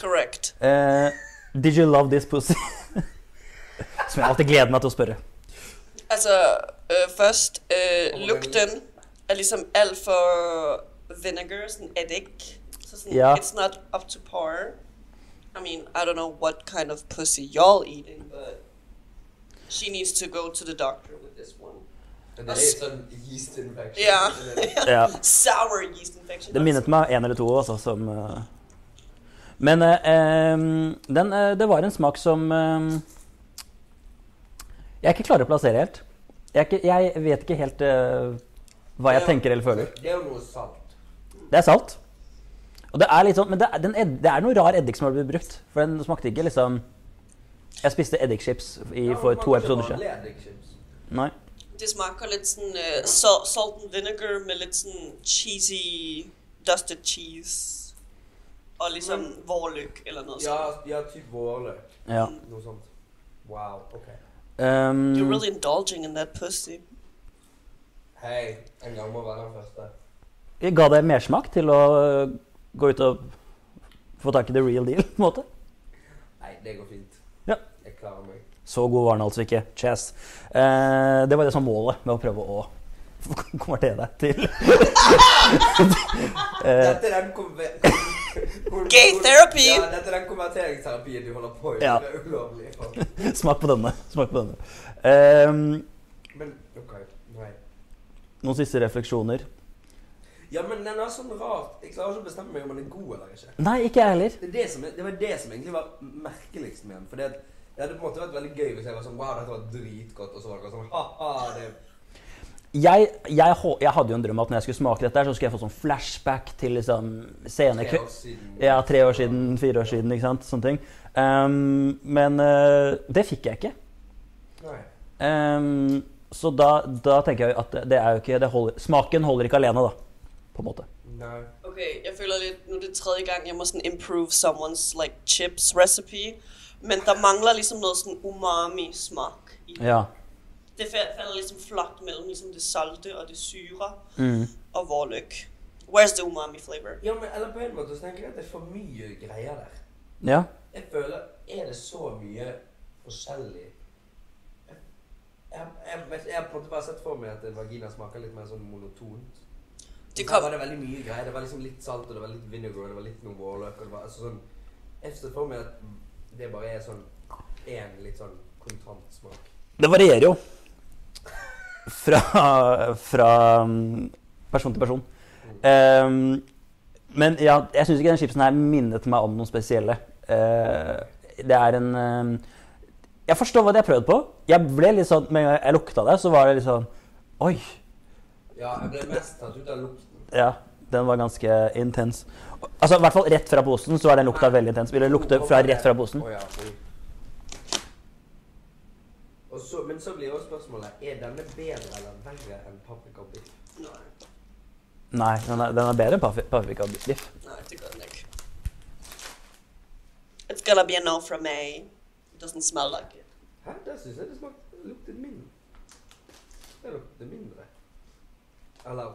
[SPEAKER 2] Correct.
[SPEAKER 1] Eh, did you love this pussy? Som jeg alltid gleder meg til å spørre.
[SPEAKER 2] Altså, øh, først
[SPEAKER 4] Og
[SPEAKER 2] øh,
[SPEAKER 4] hvordan-
[SPEAKER 2] lugten er ligesom alt for vinegar, sådan edik. Så sådan,
[SPEAKER 1] Ja.
[SPEAKER 2] it's not up to par. I mean, I don't know what kind of pussy y'all eating, but she needs to go to the doctor with this one.
[SPEAKER 4] Men Det er litt sånn yeast infection.
[SPEAKER 2] Ja.
[SPEAKER 4] Det er-
[SPEAKER 1] Ja.
[SPEAKER 2] Sour yeast infection.
[SPEAKER 1] Det minnet meg en eller to også, som eh, Men eh, em, den, eh, det var en smak som em, Jeg er ikke klarer å plassere helt. Jeg, er ikke, jeg vet ikke helt eh, hva jeg
[SPEAKER 4] Ja.
[SPEAKER 1] tenker eller føler.
[SPEAKER 4] Det er jo noe salt.
[SPEAKER 1] Det er salt. Og det er litt sånn, men det er, den ed, det er noe rar eddik som har blitt brukt. For den smakte ikke liksom Jeg spiste eddikchips i- for to episoder siden.
[SPEAKER 4] siden.
[SPEAKER 1] Nei.
[SPEAKER 2] Det smager lidt sådan øh, sal- salt and vinegar med lidt sådan cheesy, dusted cheese. Og ligesom
[SPEAKER 4] Men-
[SPEAKER 2] vårløg eller noget
[SPEAKER 4] Ja,
[SPEAKER 2] sådan. Mm.
[SPEAKER 4] ja typ vårløk.
[SPEAKER 1] Ja.
[SPEAKER 4] Noe sånt. Wow. ok.
[SPEAKER 1] Em,
[SPEAKER 2] You're really indulging in that pussy.
[SPEAKER 4] Hei, en gang må være den første.
[SPEAKER 1] Jeg ga det mersmak til å gå ut og få tak i the real deal, på en måte.
[SPEAKER 4] Nei, det går fint.
[SPEAKER 1] Ja.
[SPEAKER 4] Jeg klarer meg.
[SPEAKER 1] Så god var den altså ikke. Chess. Eh, det var det som var målet med å prøve å konvertere deg til eh,
[SPEAKER 4] Dette er den konver... kon-
[SPEAKER 2] Gay
[SPEAKER 4] kon-
[SPEAKER 2] therapy!
[SPEAKER 4] Ja, dette er den konverteringsterapien du holder på med.
[SPEAKER 1] Ja.
[SPEAKER 4] Det er ulovlig.
[SPEAKER 1] Smak på denne. Smak på denne. Eh,
[SPEAKER 4] Men OK. Nei.
[SPEAKER 1] noen siste refleksjoner?
[SPEAKER 4] Ja, men den er sånn rart. Jeg klarer ikke å bestemme meg om den er god eller ikke.
[SPEAKER 1] Nei, ikke jeg heller.
[SPEAKER 4] Det, er det, som, er- det var det som egentlig var merkeligst med den. For det hadde på en måte vært veldig gøy hvis jeg var sånn Wow, dette var dritgodt. Og så var det sånn ha-ha. Det
[SPEAKER 1] Jeg, jeg, hå- jeg hadde jo en drøm om at når jeg skulle smake dette, her, så skulle jeg få sånn flashback til liksom sene kveld.
[SPEAKER 4] er tre år siden.
[SPEAKER 1] Ja, tre år siden, fire år siden, ikke sant? Sånne ting. Ehm, men eh, det fikk jeg ikke.
[SPEAKER 4] Nei.
[SPEAKER 1] Ehm, så da, da tenker jeg at det- det er jo ikke det holder, Smaken holder ikke alene, da. På en måte.
[SPEAKER 4] Nei.
[SPEAKER 2] Okay, jeg føler lidt, nu er det tredje gang, jeg må sådan improve someone's like chips recipe. Men der mangler ligesom noget sådan umami smag i.
[SPEAKER 1] Ja.
[SPEAKER 2] Det fa- falder ligesom flot mellem ligesom det salte og det syre og vårløg. Where's the umami flavor?
[SPEAKER 4] Ja, men eller på en måte så tenker jeg at det er for mye greier der.
[SPEAKER 1] ja.
[SPEAKER 4] Jeg føler Er det så mye forskjellig Jeg- jeg, jeg, vet- jeg har på en måte bare sett for meg at en vagina smaker litt mer sånn monotont.
[SPEAKER 2] Det
[SPEAKER 4] Her
[SPEAKER 2] kom,
[SPEAKER 4] var det veldig mye greier. Det var liksom litt salt, og det var litt vinegar, og det var litt noe vårløk og det var altså sånn, Jeg ser for meg at det bare er sånn én litt sånn kontant smak.
[SPEAKER 1] Det varierer jo. Fra, fra mm, person til person. Ehm, men ja, jeg syns ikke den chipsen her minnet meg om noen spesielle. Eh, det er en eh, Jeg forstår hva de har prøvd på. Jeg ble litt sånn, Med en gang jeg lukta det, så var det litt sånn Oi!
[SPEAKER 4] Ja, jeg ble mest tatt ut av lukten.
[SPEAKER 1] Ja, den var ganske intens. Altså, i hvert fall rett fra posen, så er den lukta veldig intens. Vil det lukte fra rett fra posen?
[SPEAKER 4] Å ja, oi. Og så, men så blir jo spørsmålet Er denne bedre eller verre enn paprika og biff?
[SPEAKER 2] nej,
[SPEAKER 1] Nei, den er, den er bedre enn pafi- paprika og biff.
[SPEAKER 2] nej, det gør den ikke. It's gonna be a no from me. It doesn't smell like it.
[SPEAKER 4] Hæ? Der syns jeg det smakte det luktet mindre. Det lukter mindre. Eller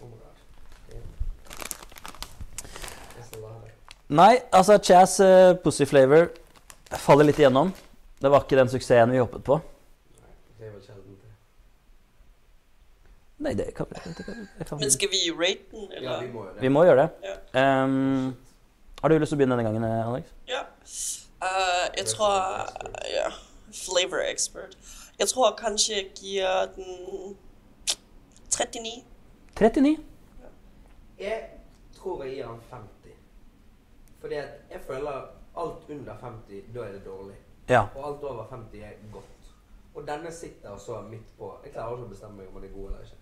[SPEAKER 4] Oh my god. Damn. Jeg skal la det.
[SPEAKER 1] Nei, altså Chas eh, Pussy Flavor faller litt igjennom. Det var ikke den suksessen vi håpet på.
[SPEAKER 4] Nei, Det er vel sjelden det.
[SPEAKER 1] Nei, det kan vi det kan- det kan
[SPEAKER 2] Men
[SPEAKER 1] vi-
[SPEAKER 2] skal vi rate den, eller?
[SPEAKER 4] Ja, vi må jo det.
[SPEAKER 1] Vi må gjøre det. Ehm, har du lyst til å begynne denne gangen, Alex?
[SPEAKER 2] Ja. Eh, jeg tror Ja. Flavor expert. Jeg tror kanskje jeg gir den 39.
[SPEAKER 1] 39.
[SPEAKER 4] Jeg tror jeg gir han 50. Fordi at jeg føler alt under 50, da er det dårlig.
[SPEAKER 1] Ja.
[SPEAKER 4] Og alt over 50 er godt. Og denne sitter så midt på. Jeg klarer ikke å bestemme meg om den er god eller ikke.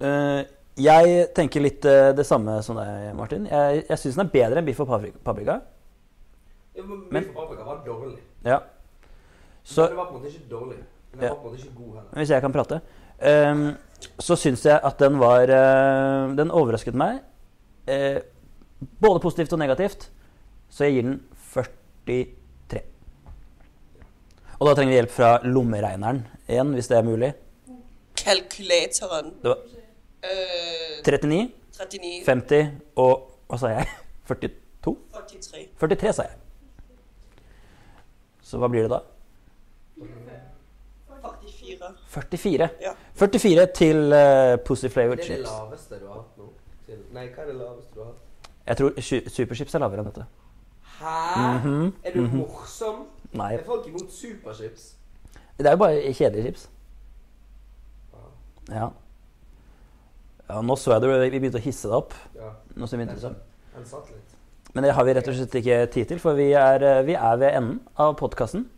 [SPEAKER 1] Eh, jeg tenker litt eh, det samme som deg, Martin. Jeg, jeg syns den er bedre enn biff og papri- paprika.
[SPEAKER 4] Ja, Men
[SPEAKER 1] Men-
[SPEAKER 4] Biff og paprika var dårlig.
[SPEAKER 1] Ja.
[SPEAKER 4] Så,
[SPEAKER 1] Så
[SPEAKER 4] det var på en måte ikke dårlig. Men den
[SPEAKER 1] Ja.
[SPEAKER 4] var på en måte ikke god heller.
[SPEAKER 1] hvis jeg kan prate ehm, Så syns jeg at den var eh, Den overrasket meg. eh, både positivt og negativt. Så jeg gir den 43. Og da trenger vi hjelp fra lommeregneren igjen, hvis det er mulig.
[SPEAKER 2] Kalkulatoren.
[SPEAKER 1] Det var
[SPEAKER 2] eh,
[SPEAKER 1] 39,
[SPEAKER 2] 39.
[SPEAKER 1] 50 og Hva sa jeg? 42?
[SPEAKER 2] 43.
[SPEAKER 1] 43, sa jeg. Så hva blir det da?
[SPEAKER 2] 44.
[SPEAKER 1] 44.
[SPEAKER 2] Ja.
[SPEAKER 1] 44 til eh, Pussy Flavored
[SPEAKER 4] Det er det
[SPEAKER 1] Chips.
[SPEAKER 4] laveste du har hatt nå. Til- Nei, hva er det laveste du har hatt?
[SPEAKER 1] Jeg tror su- Superchips er lavere enn dette.
[SPEAKER 4] Hæ? Er du morsom?
[SPEAKER 1] Mhm. Nei.
[SPEAKER 4] Er folk imot superchips?
[SPEAKER 1] Det er jo bare kjedelige chips.
[SPEAKER 4] Ja.
[SPEAKER 1] Ja. ja nå så jeg det, vi begynte å hisse det opp.
[SPEAKER 4] ja.
[SPEAKER 1] Nå ser vi interessant.
[SPEAKER 4] Den satt litt.
[SPEAKER 1] Men det har vi rett og slett ikke tid til, for vi er, eh, vi er ved enden av podkasten.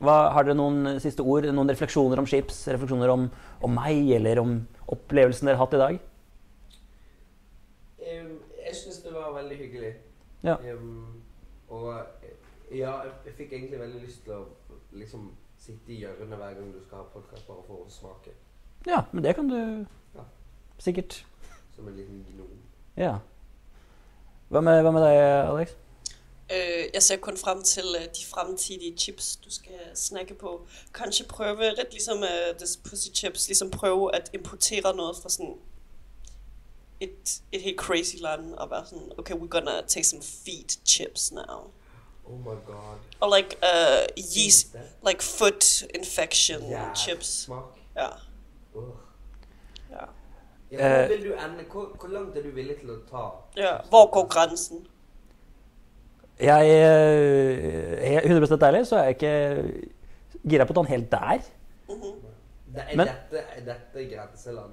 [SPEAKER 1] hva, har dere noen siste ord, noen refleksjoner om chips, refleksjoner om, om meg, eller om opplevelsen dere har hatt i dag?
[SPEAKER 4] Em, jeg syns det var veldig hyggelig.
[SPEAKER 1] Ja.
[SPEAKER 4] Em, og eh, ja, jeg, jeg fikk egentlig veldig lyst til å liksom sitte i hjørnet hver gang du skal ha podkast, bare for å smake.
[SPEAKER 1] Ja, men det kan du
[SPEAKER 4] Ja.
[SPEAKER 1] sikkert.
[SPEAKER 4] Som en liten gnom.
[SPEAKER 1] Ja. Hva med, hva med deg, Alex?
[SPEAKER 2] Øh, jeg ser kun frem til øh, de fremtidige chips, du skal snakke på. Kanskje prøve, rett ligesom øh, this pussy chips, ligesom prøve at importere noget fra sådan et, et helt crazy land, og være sådan, okay, we're gonna take some feet chips now.
[SPEAKER 4] Oh my god.
[SPEAKER 2] Or like, uh, yeast,
[SPEAKER 4] Finnes
[SPEAKER 1] Mm.
[SPEAKER 4] det?
[SPEAKER 2] like foot infection
[SPEAKER 4] Jævlig
[SPEAKER 2] chips.
[SPEAKER 4] Smak.
[SPEAKER 2] Ja,
[SPEAKER 4] Åh.
[SPEAKER 2] ja.
[SPEAKER 4] Ja,
[SPEAKER 1] Eh.
[SPEAKER 4] hvor, vil du ende, hvor, hvor langt er du villig til å ta?
[SPEAKER 2] ja. Hvor går grænsen?
[SPEAKER 1] Jeg eh, er 100 ærlig, så er jeg ikke gira på å ta den helt der.
[SPEAKER 2] Mm-hmm.
[SPEAKER 4] Det, er,
[SPEAKER 1] Men-
[SPEAKER 4] dette, er dette grenseland?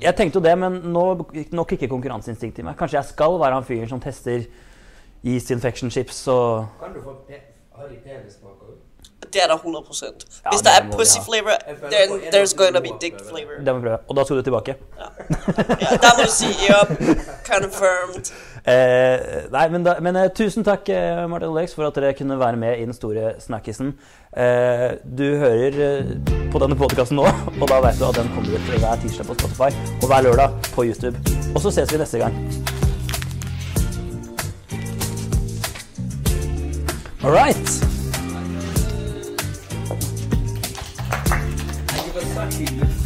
[SPEAKER 1] Jeg tenkte jo det, men nå, nå kicker konkurranseinstinktet i meg. Kanskje jeg skal være han fyren som tester yeast infection chips og
[SPEAKER 4] Kan du få pe har de penissmak òg?
[SPEAKER 2] Det er der 100%.
[SPEAKER 1] Ja,
[SPEAKER 2] Hvis
[SPEAKER 1] det
[SPEAKER 2] der er
[SPEAKER 1] må vi
[SPEAKER 2] pussy
[SPEAKER 1] ha.
[SPEAKER 2] flavor,
[SPEAKER 4] Jeg føler
[SPEAKER 2] then
[SPEAKER 4] på en
[SPEAKER 2] there's
[SPEAKER 4] måte
[SPEAKER 2] gonna
[SPEAKER 4] du
[SPEAKER 2] be
[SPEAKER 4] må
[SPEAKER 2] dick
[SPEAKER 1] eh,
[SPEAKER 4] prøve det.
[SPEAKER 2] flavor.
[SPEAKER 1] Det må vi prøve. Og da skal du tilbake.
[SPEAKER 2] Ja, der må du si ja. Confirmed.
[SPEAKER 1] Eh, nei, men, da, men eh, tusen takk, eh, Martin og Alex, for at dere kunne være med i Den store snakkisen. Eh, du hører eh, på denne podkasten nå, og da vet du at den kommer ut hver tirsdag på Spotify og hver lørdag på YouTube. Og så ses vi neste gang. All right.
[SPEAKER 4] Jeg vil bare si hyggelig.